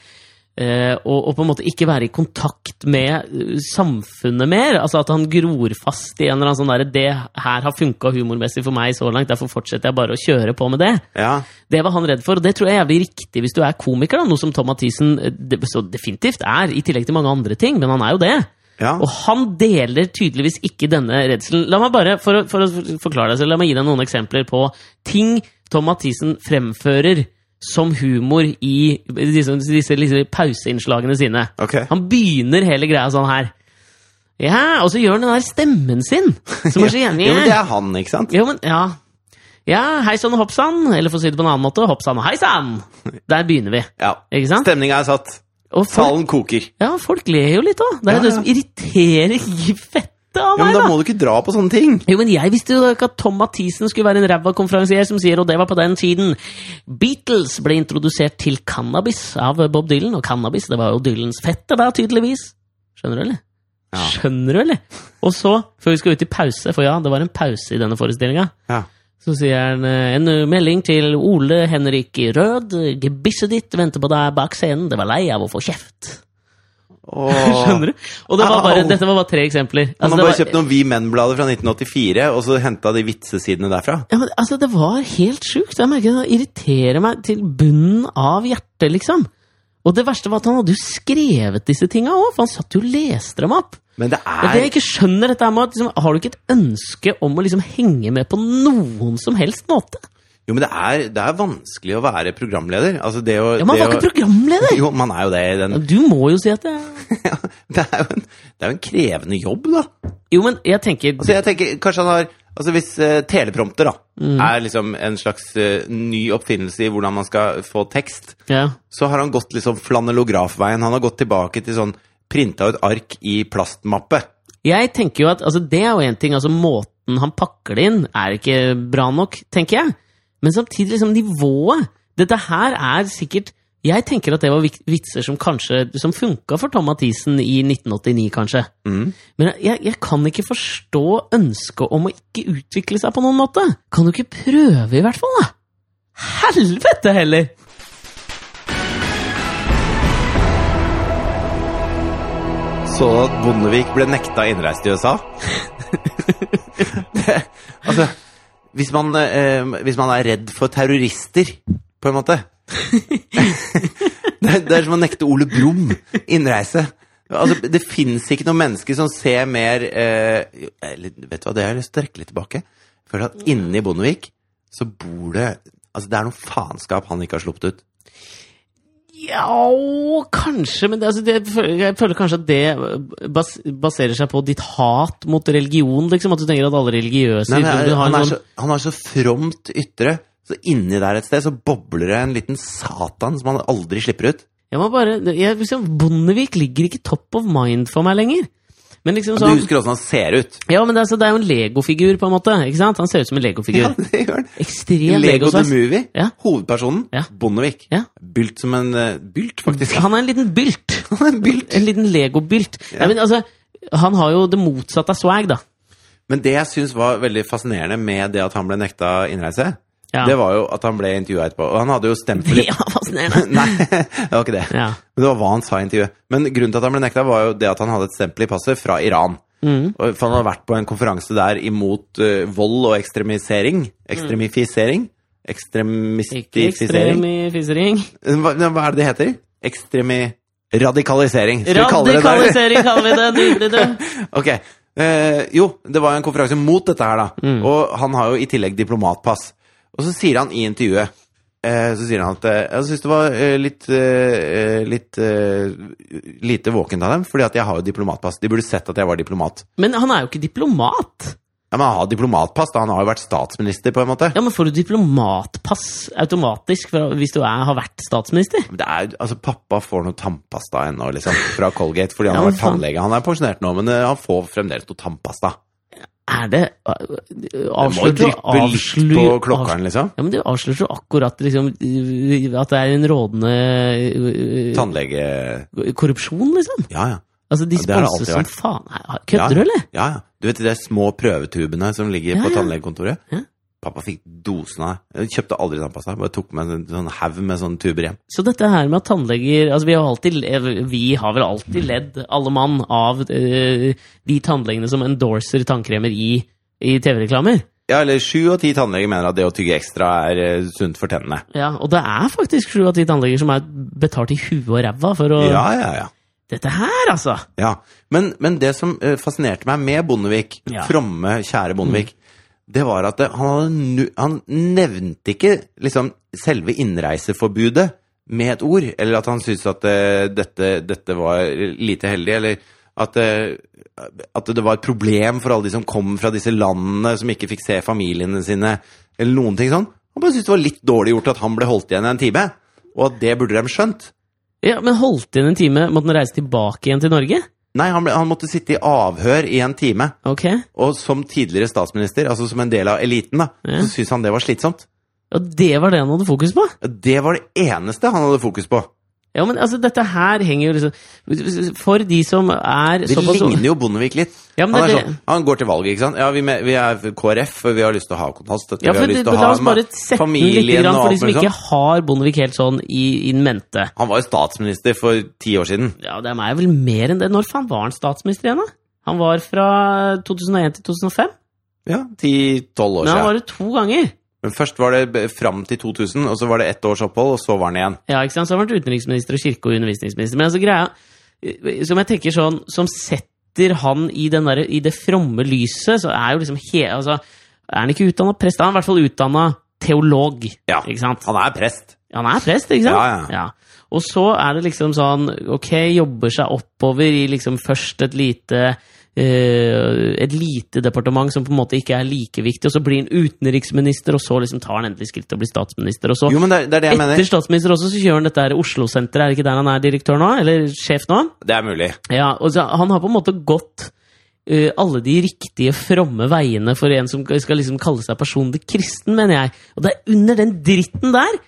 [SPEAKER 1] eh, å, å på en måte ikke være i kontakt med eh, samfunnet mer. Altså at han gror fast i en eller annen sånn derre 'det her har funka humormessig for meg så langt', derfor fortsetter jeg bare å kjøre på med det.
[SPEAKER 2] Ja.
[SPEAKER 1] Det var han redd for, og det tror jeg er jævlig riktig hvis du er komiker, da, noe som Tom Mathisen eh, de- så definitivt er, i tillegg til mange andre ting, men han er jo det.
[SPEAKER 2] ja.
[SPEAKER 1] Og han deler tydeligvis ikke denne redselen. La meg bare, for å, for å forklare deg selv, la meg gi deg noen eksempler på ting Tom Mathisen fremfører som humor i disse, disse, disse pauseinnslagene sine.
[SPEAKER 2] Ok.
[SPEAKER 1] Han begynner hele greia sånn her. Ja, og så gjør han den der stemmen sin, som er så
[SPEAKER 2] *laughs* Ja,
[SPEAKER 1] enig.
[SPEAKER 2] men det er han, ikke sant?
[SPEAKER 1] Jo, men ja. Ja, hei sann og hopp sann, eller for å si det på en annen måte, hopp sann og hei sann!
[SPEAKER 2] *laughs*
[SPEAKER 1] Der begynner vi,
[SPEAKER 2] Ja.
[SPEAKER 1] ikke sant?
[SPEAKER 2] Stemninga er satt.
[SPEAKER 1] Og folk,
[SPEAKER 2] Salen koker.
[SPEAKER 1] ja, folk ler jo litt òg. Det er jo
[SPEAKER 2] Ja,
[SPEAKER 1] det som irriterer fettet av
[SPEAKER 2] Ja, men
[SPEAKER 1] meg, da.
[SPEAKER 2] da må du ikke dra på sånne ting.
[SPEAKER 1] Jo, men jeg visste jo ikke at Tom Mathisen skulle være en ræva konferansier som sier, og det var på den tiden Beatles ble introdusert til cannabis av Bob Dylan, og cannabis, det var jo Dylans fette da, tydeligvis. Skjønner du, eller?
[SPEAKER 2] Ja.
[SPEAKER 1] Skjønner du, eller? Og så, før vi skal ut i pause, for ja, det var en pause i denne forestillinga,
[SPEAKER 2] Ja.
[SPEAKER 1] så sier han eh, en melding til Ole Henrik Rød, gebisset ditt venter på deg bak scenen, det var lei av å få kjeft. *laughs*
[SPEAKER 2] Åh.
[SPEAKER 1] Skjønner du? Og det var bare,
[SPEAKER 2] Au.
[SPEAKER 1] dette var bare tre eksempler.
[SPEAKER 2] Han
[SPEAKER 1] Altså,
[SPEAKER 2] har
[SPEAKER 1] det
[SPEAKER 2] bare
[SPEAKER 1] var-
[SPEAKER 2] kjøpt noen Vi Menn-blader fra 1984, og så henta de vitsesidene derfra.
[SPEAKER 1] Ja, men, altså, det var helt sjukt. Jeg merker Det irriterer meg til bunnen av hjertet, liksom. Og det verste var at han hadde jo skrevet disse tinga òg, for han satt jo og leste dem opp.
[SPEAKER 2] Men det
[SPEAKER 1] Det er det
[SPEAKER 2] er
[SPEAKER 1] jeg ikke skjønner dette her med at liksom, Har du ikke et ønske om å liksom henge med på noen som helst måte?
[SPEAKER 2] Jo, men det er, det er vanskelig å være programleder. Altså, det å
[SPEAKER 1] Ja, Man
[SPEAKER 2] det
[SPEAKER 1] var
[SPEAKER 2] å-
[SPEAKER 1] ikke programleder!
[SPEAKER 2] Jo, man er jo det. i Den,
[SPEAKER 1] Du må jo si at det er
[SPEAKER 2] *laughs* det, er jo en, det er jo en krevende jobb, da.
[SPEAKER 1] Jo, men jeg tenker
[SPEAKER 2] Altså, jeg tenker, kanskje han har Altså, hvis eh, teleprompter da,
[SPEAKER 1] Mm.
[SPEAKER 2] er liksom en slags eh, ny oppfinnelse i hvordan man skal få tekst,
[SPEAKER 1] ja.
[SPEAKER 2] så har han gått liksom flanellografveien. Han har gått tilbake til sånn printa ut ark i plastmappe.
[SPEAKER 1] Jeg tenker jo at altså, Det er jo én ting. altså Måten han pakker det inn, er ikke bra nok, tenker jeg. Men samtidig, liksom, nivået Dette her er sikkert Jeg tenker at det var vik- vitser som kanskje Som funka for Tom Mathisen i 1989, kanskje.
[SPEAKER 2] Mm.
[SPEAKER 1] Men jeg, jeg kan ikke forstå ønsket om å ikke utvikle seg på noen måte. Kan du ikke prøve, i hvert fall? da? Helvete heller!
[SPEAKER 2] Så at Bondevik ble nekta innreise til USA? *laughs* det, altså, hvis man, eh, hvis man er redd for terrorister, på en *laughs* måte det, det er som å nekte Ole Brumm innreise. Altså, det fins ikke noe menneske som ser mer eh, jo, eller, Vet du hva, det har jeg lyst til å trekke litt tilbake. Jeg Føler at inni Bondevik så bor det Altså, det er noe faenskap han ikke har sluppet ut.
[SPEAKER 1] Ja, kanskje, men det, altså, det, jeg føler kanskje at det eh, bas, baserer seg på ditt hat mot religion, liksom. At du tenker at alle religiøse
[SPEAKER 2] Nei, men,
[SPEAKER 1] liksom, du har
[SPEAKER 2] han,
[SPEAKER 1] en
[SPEAKER 2] er
[SPEAKER 1] sånn-
[SPEAKER 2] så, han er så fromt ytre, så inni der et sted så bobler det en liten satan som han aldri slipper ut.
[SPEAKER 1] Jeg må bare jeg, liksom, Bondevik ligger ikke top of mind for meg lenger. Men liksom
[SPEAKER 2] Du
[SPEAKER 1] sånn
[SPEAKER 2] husker åssen han ser ut?
[SPEAKER 1] Ja, men det er, så det er jo en legofigur, på en måte. ikke sant? Han ser ut som en legofigur.
[SPEAKER 2] Ja, *laughs* det gjør han.
[SPEAKER 1] Ekstrem
[SPEAKER 2] Lego The
[SPEAKER 1] legosveis.
[SPEAKER 2] Movie.
[SPEAKER 1] Ja.
[SPEAKER 2] Hovedpersonen,
[SPEAKER 1] Ja.
[SPEAKER 2] Bondevik.
[SPEAKER 1] Ja.
[SPEAKER 2] Bylt som en eh, Bylt, faktisk.
[SPEAKER 1] Han er en liten bylt.
[SPEAKER 2] *laughs*
[SPEAKER 1] *laughs*
[SPEAKER 2] Han er en bylt.
[SPEAKER 1] En liten legobylt.
[SPEAKER 2] Ja.
[SPEAKER 1] Nei, men altså, han har jo det motsatte av swag, da.
[SPEAKER 2] Men det jeg syns var veldig fascinerende med det at han ble nekta innreise,
[SPEAKER 1] Ja.
[SPEAKER 2] det var jo at han ble intervjua etterpå. Og han hadde jo stemt for
[SPEAKER 1] *laughs* Ja, fascinerende.
[SPEAKER 2] *laughs* Nei, *laughs* det var ikke det.
[SPEAKER 1] Ja.
[SPEAKER 2] Men det var hva han sa i intervjuet. Men grunnen til at han ble nekta, var jo det at han hadde et stempel i passet fra Iran. Og- For han hadde vært på en konferanse der imot eh, vold og ekstremisering. Ekstremifisering?
[SPEAKER 1] Ikke
[SPEAKER 2] Ekstremistifisering?
[SPEAKER 1] ekstremifisering.
[SPEAKER 2] Hva, hva er det det heter? Ekstremi... Radikalisering. Skal vi kalle det det?
[SPEAKER 1] Radikalisering kaller vi det. Nydelig, du.
[SPEAKER 2] *laughs* Ok. Eh, jo, det var en konferanse mot dette her, da.
[SPEAKER 1] Mm.
[SPEAKER 2] Og han har jo i tillegg diplomatpass. Og så sier han i intervjuet eh, Så sier han at eh, Jeg syns det var eh, litt eh, Litt eh, lite våkent av dem, fordi at jeg har jo diplomatpass. De burde sett at jeg var diplomat.
[SPEAKER 1] Men han er jo ikke diplomat.
[SPEAKER 2] Ja, Men han har diplomatpass, da. Han har jo vært statsminister, på en måte.
[SPEAKER 1] Ja, Men får du diplomatpass automatisk fra, hvis du er, har vært statsminister?
[SPEAKER 2] Men Det er, jo- altså, pappa får noe tannpasta ennå, liksom, fra Colgate, fordi han
[SPEAKER 1] Ja,
[SPEAKER 2] har
[SPEAKER 1] men
[SPEAKER 2] vært
[SPEAKER 1] faen.
[SPEAKER 2] tannlege. Han er pensjonert nå, men eh, han får fremdeles noe tannpasta.
[SPEAKER 1] Er det
[SPEAKER 2] Det må jo
[SPEAKER 1] Avslører du
[SPEAKER 2] dryppe litt på
[SPEAKER 1] avslører-
[SPEAKER 2] klokkeren, liksom.
[SPEAKER 1] Ja, men Du avslører jo akkurat liksom, at det er en rådende øh,
[SPEAKER 2] Tannlege...
[SPEAKER 1] korrupsjon, liksom.
[SPEAKER 2] Ja, ja.
[SPEAKER 1] Altså, De
[SPEAKER 2] Ja, det har det
[SPEAKER 1] sponses
[SPEAKER 2] alltid
[SPEAKER 1] som faen. Nei, Kødder du,
[SPEAKER 2] ja,
[SPEAKER 1] eller?
[SPEAKER 2] Ja, ja. Du vet de der små prøvetubene som ligger
[SPEAKER 1] Ja,
[SPEAKER 2] på
[SPEAKER 1] ja.
[SPEAKER 2] tannlegekontoret?
[SPEAKER 1] Ja.
[SPEAKER 2] Pappa fikk dosen av det. Jeg kjøpte aldri tannpasta. Bare tok med en sånn haug med sånne tuber hjem.
[SPEAKER 1] Så dette her med at tannleger altså Vi har, alltid, vi har vel alltid ledd, alle mann, av eh, de tannlegene som endorser tannkremer i, i TV-reklamer.
[SPEAKER 2] Ja, eller sju av ti tannleger mener at det å tygge ekstra er eh, sunt for tennene.
[SPEAKER 1] Ja, Og det er faktisk sju av ti tannleger som er betalt i huet og ræva for å
[SPEAKER 2] Ja, ja, ja.
[SPEAKER 1] Dette her, altså!
[SPEAKER 2] ja. Men, men det som eh, fascinerte meg med Bondevik,
[SPEAKER 1] Ja.
[SPEAKER 2] fromme, kjære Bondevik, det var at eh, han, hadde nu, han nevnte ikke liksom selve innreiseforbudet med et ord, eller at han syntes at eh, dette, dette var lite heldig, eller at, eh, at det var et problem for alle de som kom fra disse landene, som ikke fikk se familiene sine, eller noen ting sånn. Han bare syntes det var litt dårlig gjort at han ble holdt igjen i en time, og at det burde de skjønt.
[SPEAKER 1] Ja, Men holdt inn en time, måtte han reise tilbake igjen til Norge?
[SPEAKER 2] Nei, han, ble, han måtte sitte i avhør i en time.
[SPEAKER 1] Ok,
[SPEAKER 2] Og som tidligere statsminister, altså som en del av eliten, da,
[SPEAKER 1] Ja.
[SPEAKER 2] så syntes han det var slitsomt.
[SPEAKER 1] Og det var det han hadde fokus på?
[SPEAKER 2] Det var det eneste han hadde fokus på.
[SPEAKER 1] Ja, men altså, dette her henger jo liksom For de som er
[SPEAKER 2] Det
[SPEAKER 1] såpass
[SPEAKER 2] ligner jo Bondevik litt.
[SPEAKER 1] Ja, men
[SPEAKER 2] han, er
[SPEAKER 1] det-
[SPEAKER 2] sånn, han går til valget, ikke sant. Ja, vi, med, vi er KrF, og vi har lyst til å ha kontantstøtte.
[SPEAKER 1] Ja,
[SPEAKER 2] vi
[SPEAKER 1] for
[SPEAKER 2] har lyst
[SPEAKER 1] det,
[SPEAKER 2] til
[SPEAKER 1] La
[SPEAKER 2] å ha
[SPEAKER 1] oss bare sette
[SPEAKER 2] ma-
[SPEAKER 1] den litt
[SPEAKER 2] familien
[SPEAKER 1] grann
[SPEAKER 2] og
[SPEAKER 1] for
[SPEAKER 2] alt
[SPEAKER 1] de som
[SPEAKER 2] mulig
[SPEAKER 1] ikke
[SPEAKER 2] sånt.
[SPEAKER 1] har Bondevik helt sånn i in mente.
[SPEAKER 2] Han var jo statsminister for ti år siden.
[SPEAKER 1] Ja, det er meg vel mer enn det. Når faen var han statsminister igjen, da? Han var fra 2001 til 2005.
[SPEAKER 2] Ja, Ti-tolv år
[SPEAKER 1] Men han
[SPEAKER 2] siden.
[SPEAKER 1] var det to ganger.
[SPEAKER 2] Men først var det b- fram til 2000, og så var det ett års opphold, og så var han igjen.
[SPEAKER 1] Ja, ikke sant? Så har han vært utenriksminister og kirke- og undervisningsminister. Men altså greia, eh, som jeg tenker sånn, som setter han i, den derre- i det fromme lyset, så er jo liksom he... Altså, er han ikke utdanna prest? Han er i hvert fall utdanna teolog.
[SPEAKER 2] Ja.
[SPEAKER 1] Ikke sant?
[SPEAKER 2] Han er prest.
[SPEAKER 1] Han er prest, ikke sant?
[SPEAKER 2] Ja,
[SPEAKER 1] Og så er det liksom sånn, ok, jobber seg oppover i liksom først et lite eh, et lite departement som på en måte ikke er like viktig, og så blir han utenriksminister, og så liksom tar han endelig skritt til å bli statsminister, og så
[SPEAKER 2] Jo, men det er det, er det jeg
[SPEAKER 1] etter
[SPEAKER 2] mener.
[SPEAKER 1] statsminister også, så kjører han dette her Oslo-senteret, er det ikke der han er direktør nå? Eller sjef nå?
[SPEAKER 2] Det er mulig.
[SPEAKER 1] Ja, og så, han har på en måte gått eh, alle de riktige, fromme veiene for en som skal liksom kalle seg personlig kristen, mener jeg. Og det er under den dritten der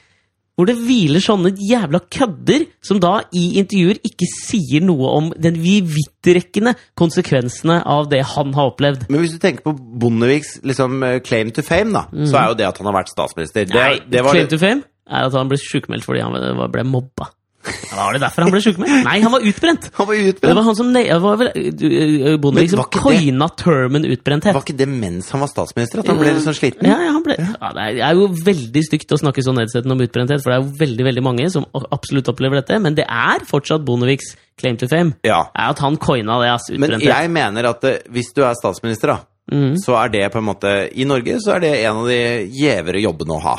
[SPEAKER 1] Hvor det hviler sånne jævla kødder som da i intervjuer ikke sier noe om den vidtrekkende konsekvensene av det han har opplevd.
[SPEAKER 2] Men hvis du tenker på Bondeviks liksom, eh, claim to fame, da, så er jo det at han har vært statsminister. Det,
[SPEAKER 1] Nei,
[SPEAKER 2] det var
[SPEAKER 1] claim to fame er at han ble sjukmeldt fordi han var- ble mobba. Ja, Var det derfor han ble sjukmeldt? Nei, han var utbrent!
[SPEAKER 2] Han var
[SPEAKER 1] Det
[SPEAKER 2] utbrent.
[SPEAKER 1] var han som ne- det var vel øh, øh, Bondevik
[SPEAKER 2] Men
[SPEAKER 1] som
[SPEAKER 2] var ikke det-
[SPEAKER 1] coina termen utbrenthet.
[SPEAKER 2] Var ikke det mens han var statsminister at han ble litt sånn sliten?
[SPEAKER 1] Ja, ja, han ble, ja, det er- det er jo veldig stygt å snakke så nedsettende om utbrenthet, for det er jo veldig veldig mange som a- absolutt opplever dette, men det er fortsatt Bondeviks claim to fame.
[SPEAKER 2] Ja.
[SPEAKER 1] Er at han coina det, ass.
[SPEAKER 2] Men
[SPEAKER 1] Utbrenthet.
[SPEAKER 2] jeg mener at eh, hvis du er statsminister, da,
[SPEAKER 1] Mhm.
[SPEAKER 2] så er det på en måte I Norge så er det en av de gjevere
[SPEAKER 1] *laughs*
[SPEAKER 2] jobbene å ha.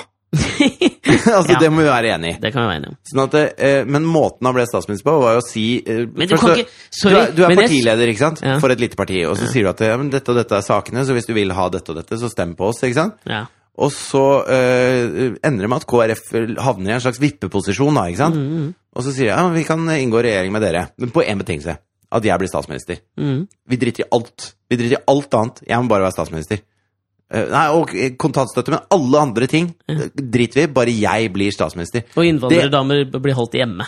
[SPEAKER 2] altså,
[SPEAKER 1] Ja.
[SPEAKER 2] det må vi være enig i.
[SPEAKER 1] Det kan vi være enige om.
[SPEAKER 2] Sånn at, eh, men måten han ble statsminister på, var jo å si eh,
[SPEAKER 1] Men du
[SPEAKER 2] først
[SPEAKER 1] kan
[SPEAKER 2] så-
[SPEAKER 1] ikke Sorry.
[SPEAKER 2] du er, du er
[SPEAKER 1] men jeg-
[SPEAKER 2] partileder ikke sant?
[SPEAKER 1] Ja.
[SPEAKER 2] for et lite parti, og så sier du at eh, ja, men dette og dette er sakene, så hvis du vil ha dette og dette, så stem på oss. ikke sant?
[SPEAKER 1] Ja.
[SPEAKER 2] Og så eh, ender det med at KrF havner i en slags vippeposisjon. da, ikke sant?
[SPEAKER 1] Mm,
[SPEAKER 2] Og så sier jeg ja, vi kan inngå regjering med dere, men på én betingelse. At jeg blir statsminister.
[SPEAKER 1] Mhm.
[SPEAKER 2] Vi driter i alt. Vi driter i alt annet. Jeg må bare være statsminister. Eh, nei, og kontantstøtte, men alle andre ting eh, driter vi i. Bare jeg blir statsminister.
[SPEAKER 1] Og innvandrerdamer blir holdt hjemme.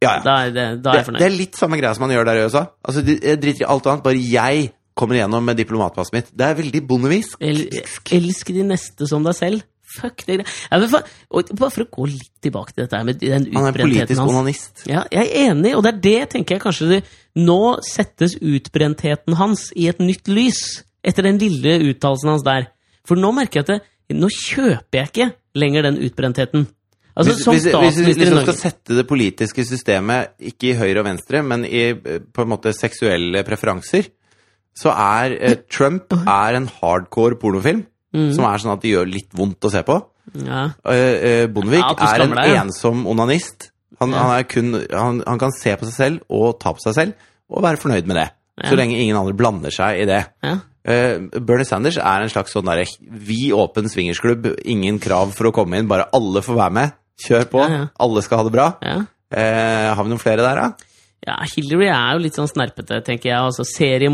[SPEAKER 2] Ja, ja.
[SPEAKER 1] Da er, det, da er jeg
[SPEAKER 2] Det, det
[SPEAKER 1] fornøyd.
[SPEAKER 2] er litt samme greia som man gjør der i USA. Altså, de- Jeg driter i alt annet, bare jeg kommer igjennom med diplomatpasset mitt. Det er veldig bondevisk.
[SPEAKER 1] El, elsk de neste som deg selv. Fuck det greia. Ja, men fa- og Bare for å gå litt tilbake til dette her med den
[SPEAKER 2] Han er
[SPEAKER 1] utbrentheten
[SPEAKER 2] politisk
[SPEAKER 1] hans.
[SPEAKER 2] onanist.
[SPEAKER 1] Ja, jeg er enig, og det er det tenker jeg kanskje det, Nå settes utbrentheten hans i et nytt lys etter den lille uttalelsen hans der. For nå merker jeg at det, nå kjøper jeg ikke lenger den utbrentheten. Altså,
[SPEAKER 2] Hvis,
[SPEAKER 1] som
[SPEAKER 2] hvis, hvis, hvis
[SPEAKER 1] statsminister i
[SPEAKER 2] du
[SPEAKER 1] Norge.
[SPEAKER 2] skal sette det politiske systemet ikke i høyre og venstre, men i eh, på en måte seksuelle preferanser, så er eh, Trump er en hardcore pornofilm.
[SPEAKER 1] Mm.
[SPEAKER 2] Som er sånn at det gjør litt vondt å se på.
[SPEAKER 1] Ja.
[SPEAKER 2] Eh, eh, Bondevik
[SPEAKER 1] Ja, at du
[SPEAKER 2] er en
[SPEAKER 1] skammer deg, ja.
[SPEAKER 2] ensom onanist. Han,
[SPEAKER 1] Ja.
[SPEAKER 2] han, er kun, han, han kan se på seg selv og ta på seg selv og være fornøyd med det.
[SPEAKER 1] Ja.
[SPEAKER 2] Så lenge ingen andre blander seg i det.
[SPEAKER 1] Ja.
[SPEAKER 2] Eh, Bernie Sanders er en slags sånn derre vi åpen swingersklubb, ingen krav for å komme inn, bare alle får være med. Kjør på,
[SPEAKER 1] Ja, ja.
[SPEAKER 2] alle skal ha det bra.
[SPEAKER 1] Ja.
[SPEAKER 2] Eh, har vi noen flere der, da?
[SPEAKER 1] ja, Hillary er jo litt sånn snerpete, tenker jeg. Altså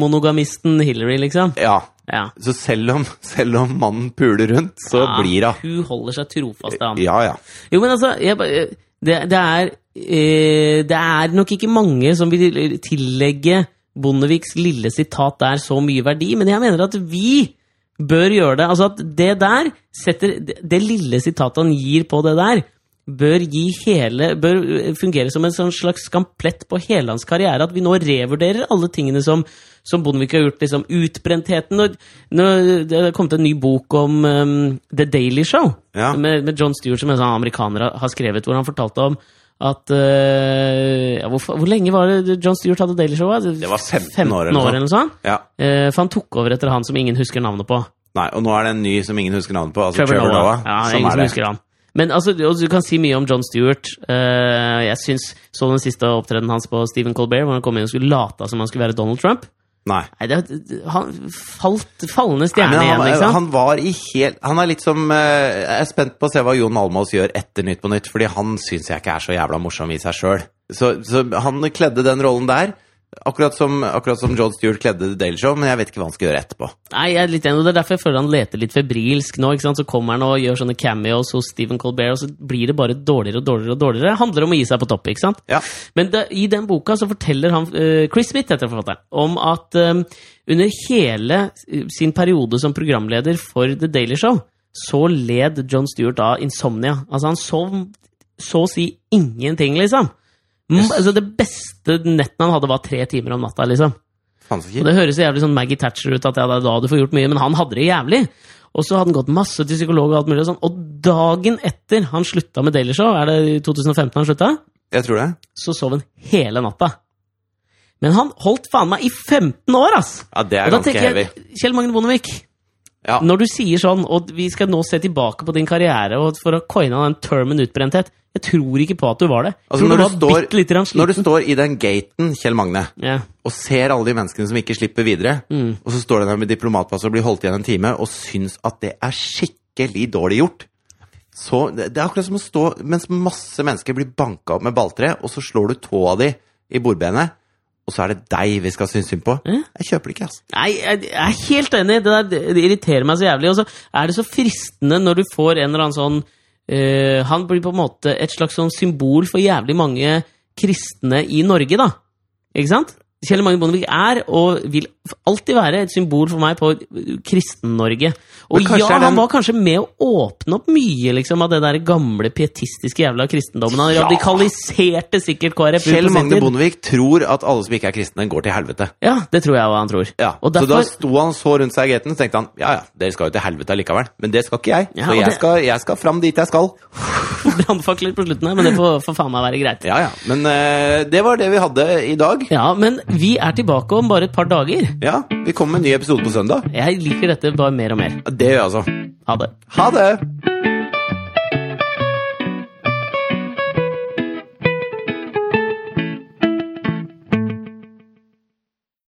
[SPEAKER 1] seriemonogamisten Hillary, liksom.
[SPEAKER 2] Ja.
[SPEAKER 1] Ja.
[SPEAKER 2] Så selv om, *laughs* selv om mannen puler rundt, så
[SPEAKER 1] Ja,
[SPEAKER 2] blir hun.
[SPEAKER 1] Hun holder seg trofast til han.
[SPEAKER 2] Ja, ja.
[SPEAKER 1] Jo, men altså jeg, bare- det, det er eh, Det er nok ikke mange som vil tillegge Bondeviks lille sitat der så mye verdi, men jeg mener at vi bør gjøre det. Altså at det der setter Det, det lille sitatet han gir på det der, bør gi hele Bør fungere som en sånn slags skamplett på hele hans karriere. At vi nå revurderer alle tingene som, som Bondevik har gjort. liksom Utbrentheten og nå, Det har kommet en ny bok om um, The Daily Show
[SPEAKER 2] Ja.
[SPEAKER 1] med, med John Stewart, som en sånn amerikaner har- har skrevet, hvor han fortalte om at eh, ja, hvor, fa- hvor lenge var det John Stewart hadde Daily Show? Det
[SPEAKER 2] var 15 år eller noe sånt.
[SPEAKER 1] eller noe sånt.
[SPEAKER 2] ja.
[SPEAKER 1] Eh, for han tok over etter han som ingen husker navnet på.
[SPEAKER 2] Nei, og nå er det en ny som ingen husker navnet på. Altså
[SPEAKER 1] Trevor Noah. Ja, det er
[SPEAKER 2] som
[SPEAKER 1] ingen
[SPEAKER 2] er
[SPEAKER 1] som
[SPEAKER 2] det.
[SPEAKER 1] husker han. Men altså, du, du kan si mye om John Stewart. Eh, jeg syns så den siste opptredenen hans på Stephen Colbert, hvor han kom inn og skulle late som han skulle være Donald Trump.
[SPEAKER 2] Nei.
[SPEAKER 1] Nei, det, han falt fallende stjerne
[SPEAKER 2] Men han,
[SPEAKER 1] igjen, ikke sant?
[SPEAKER 2] han var i helt Han er litt som eh, Jeg er spent på å se hva Jon Almaas gjør etter Nytt på Nytt, fordi han syns jeg ikke er så jævla morsom i seg sjøl. Så, så han kledde den rollen der, akkurat som, akkurat som John Stewart kledde The Daily Show, men jeg vet ikke hva han skal gjøre etterpå.
[SPEAKER 1] Nei, jeg er litt enig, og Det er derfor jeg føler han leter litt febrilsk nå. ikke sant? Så kommer han og gjør sånne cameos hos Stephen Colbert, og så blir det bare dårligere og dårligere. og dårligere. Det handler om å gi seg på topp. ikke sant?
[SPEAKER 2] Ja.
[SPEAKER 1] Men det, i den boka så forteller han, eh, Chris Smith, heter forfatteren, om at eh, under hele eh, sin periode som programleder for The Daily Show, så led John Stewart av insomnia. Altså, han sov så å si ingenting, liksom. Mm, Altså, det beste netten han hadde, var tre timer om natta, liksom.
[SPEAKER 2] Fanns
[SPEAKER 1] Og
[SPEAKER 2] ikke.
[SPEAKER 1] det høres så jævlig sånn Maggie Thatcher ut, at ja, det er da du får gjort mye, men han hadde det jævlig. Og så hadde han gått masse til psykolog og alt mulig og sånn. Og dagen etter han slutta med Daily Show, er det i 2015 han slutta,
[SPEAKER 2] Jeg tror det.
[SPEAKER 1] så sov han hele natta. Men han holdt faen meg i 15 år, ass!
[SPEAKER 2] Ja, det
[SPEAKER 1] Og
[SPEAKER 2] er
[SPEAKER 1] da
[SPEAKER 2] ganske
[SPEAKER 1] tenker
[SPEAKER 2] heavy.
[SPEAKER 1] jeg, Kjell Magne Bondevik,
[SPEAKER 2] Ja.
[SPEAKER 1] når du sier sånn, og vi skal nå se tilbake på din karriere og for å coine den termen utbrenthet, jeg tror ikke på at du var det. Jeg
[SPEAKER 2] Altså,
[SPEAKER 1] tror
[SPEAKER 2] når,
[SPEAKER 1] du
[SPEAKER 2] du
[SPEAKER 1] var
[SPEAKER 2] står,
[SPEAKER 1] bitte lite grann
[SPEAKER 2] når du
[SPEAKER 1] sliten.
[SPEAKER 2] står i den gaten, Kjell Magne,
[SPEAKER 1] Ja.
[SPEAKER 2] og ser alle de menneskene som ikke slipper videre,
[SPEAKER 1] Mm.
[SPEAKER 2] og så står du der med diplomatpass og blir holdt igjen en time, og syns at det er skikkelig dårlig gjort. Så Det det er akkurat som å stå mens masse mennesker blir banka opp med balltre, og så slår du tåa di i bordbenet, og så er det deg vi skal synes synd på. Jeg kjøper det ikke, altså.
[SPEAKER 1] Nei, jeg jeg er helt enig. Det, der, det irriterer meg så jævlig. Og så er det så fristende når du får en eller annen sånn eh, Han blir på en måte et slags sånn symbol for jævlig mange kristne i Norge, da. Ikke sant? Kjell Magne Bondevik er, og vil alltid være, et symbol for meg på Kristen-Norge. Og
[SPEAKER 2] Men kanskje
[SPEAKER 1] ja,
[SPEAKER 2] er den-
[SPEAKER 1] han var kanskje med å åpne opp mye liksom, av det der gamle pietistiske jævla kristendommen. Han
[SPEAKER 2] Ja.
[SPEAKER 1] radikaliserte sikkert KrF. ut
[SPEAKER 2] Kjell
[SPEAKER 1] på sin
[SPEAKER 2] Magne
[SPEAKER 1] tid.
[SPEAKER 2] Bondevik tror at alle som ikke er kristne, går til helvete.
[SPEAKER 1] Ja, det tror jeg hva han tror.
[SPEAKER 2] Ja,
[SPEAKER 1] Og
[SPEAKER 2] Så da
[SPEAKER 1] derfor-
[SPEAKER 2] sto han så rundt seg i gaten, så tenkte han ja ja, dere skal jo til helvete likevel. Men det skal ikke jeg.
[SPEAKER 1] Ja,
[SPEAKER 2] så
[SPEAKER 1] og
[SPEAKER 2] jeg,
[SPEAKER 1] det-
[SPEAKER 2] skal, jeg skal fram dit jeg skal.
[SPEAKER 1] *laughs* Brannfakler på slutten her, men det får, får faen meg være greit.
[SPEAKER 2] Ja ja. Men eh, det var det vi hadde i dag.
[SPEAKER 1] Ja, men vi er tilbake om bare et par dager.
[SPEAKER 2] Ja, vi kommer med en ny episode på søndag.
[SPEAKER 1] Jeg liker dette bare mer og mer.
[SPEAKER 2] Det gjør jeg altså.
[SPEAKER 1] Ha det.
[SPEAKER 2] Ha det!